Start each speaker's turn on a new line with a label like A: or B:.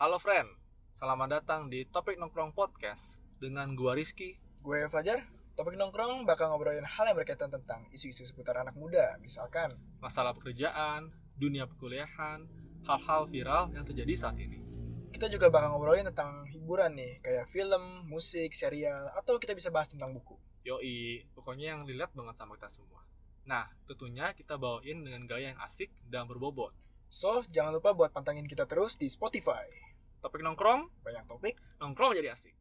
A: Halo friend, selamat datang di Topik Nongkrong Podcast dengan gua Rizky.
B: Gue Fajar, topik nongkrong bakal ngobrolin hal yang berkaitan tentang isu-isu seputar anak muda, misalkan
A: Masalah pekerjaan, dunia perkuliahan, hal-hal viral yang terjadi saat ini.
B: kita juga bakal ngobrolin tentang hiburan nih, kayak film, musik, serial, atau kita bisa bahas tentang buku.
A: Yoi, pokoknya yang relate banget sama kita semua. Nah, tentunya kita bawain dengan gaya yang asik dan berbobot.
B: So, jangan lupa buat pantengin kita terus di Spotify.
A: Topik nongkrong,
B: Banyak topik,
A: nongkrong jadi asik.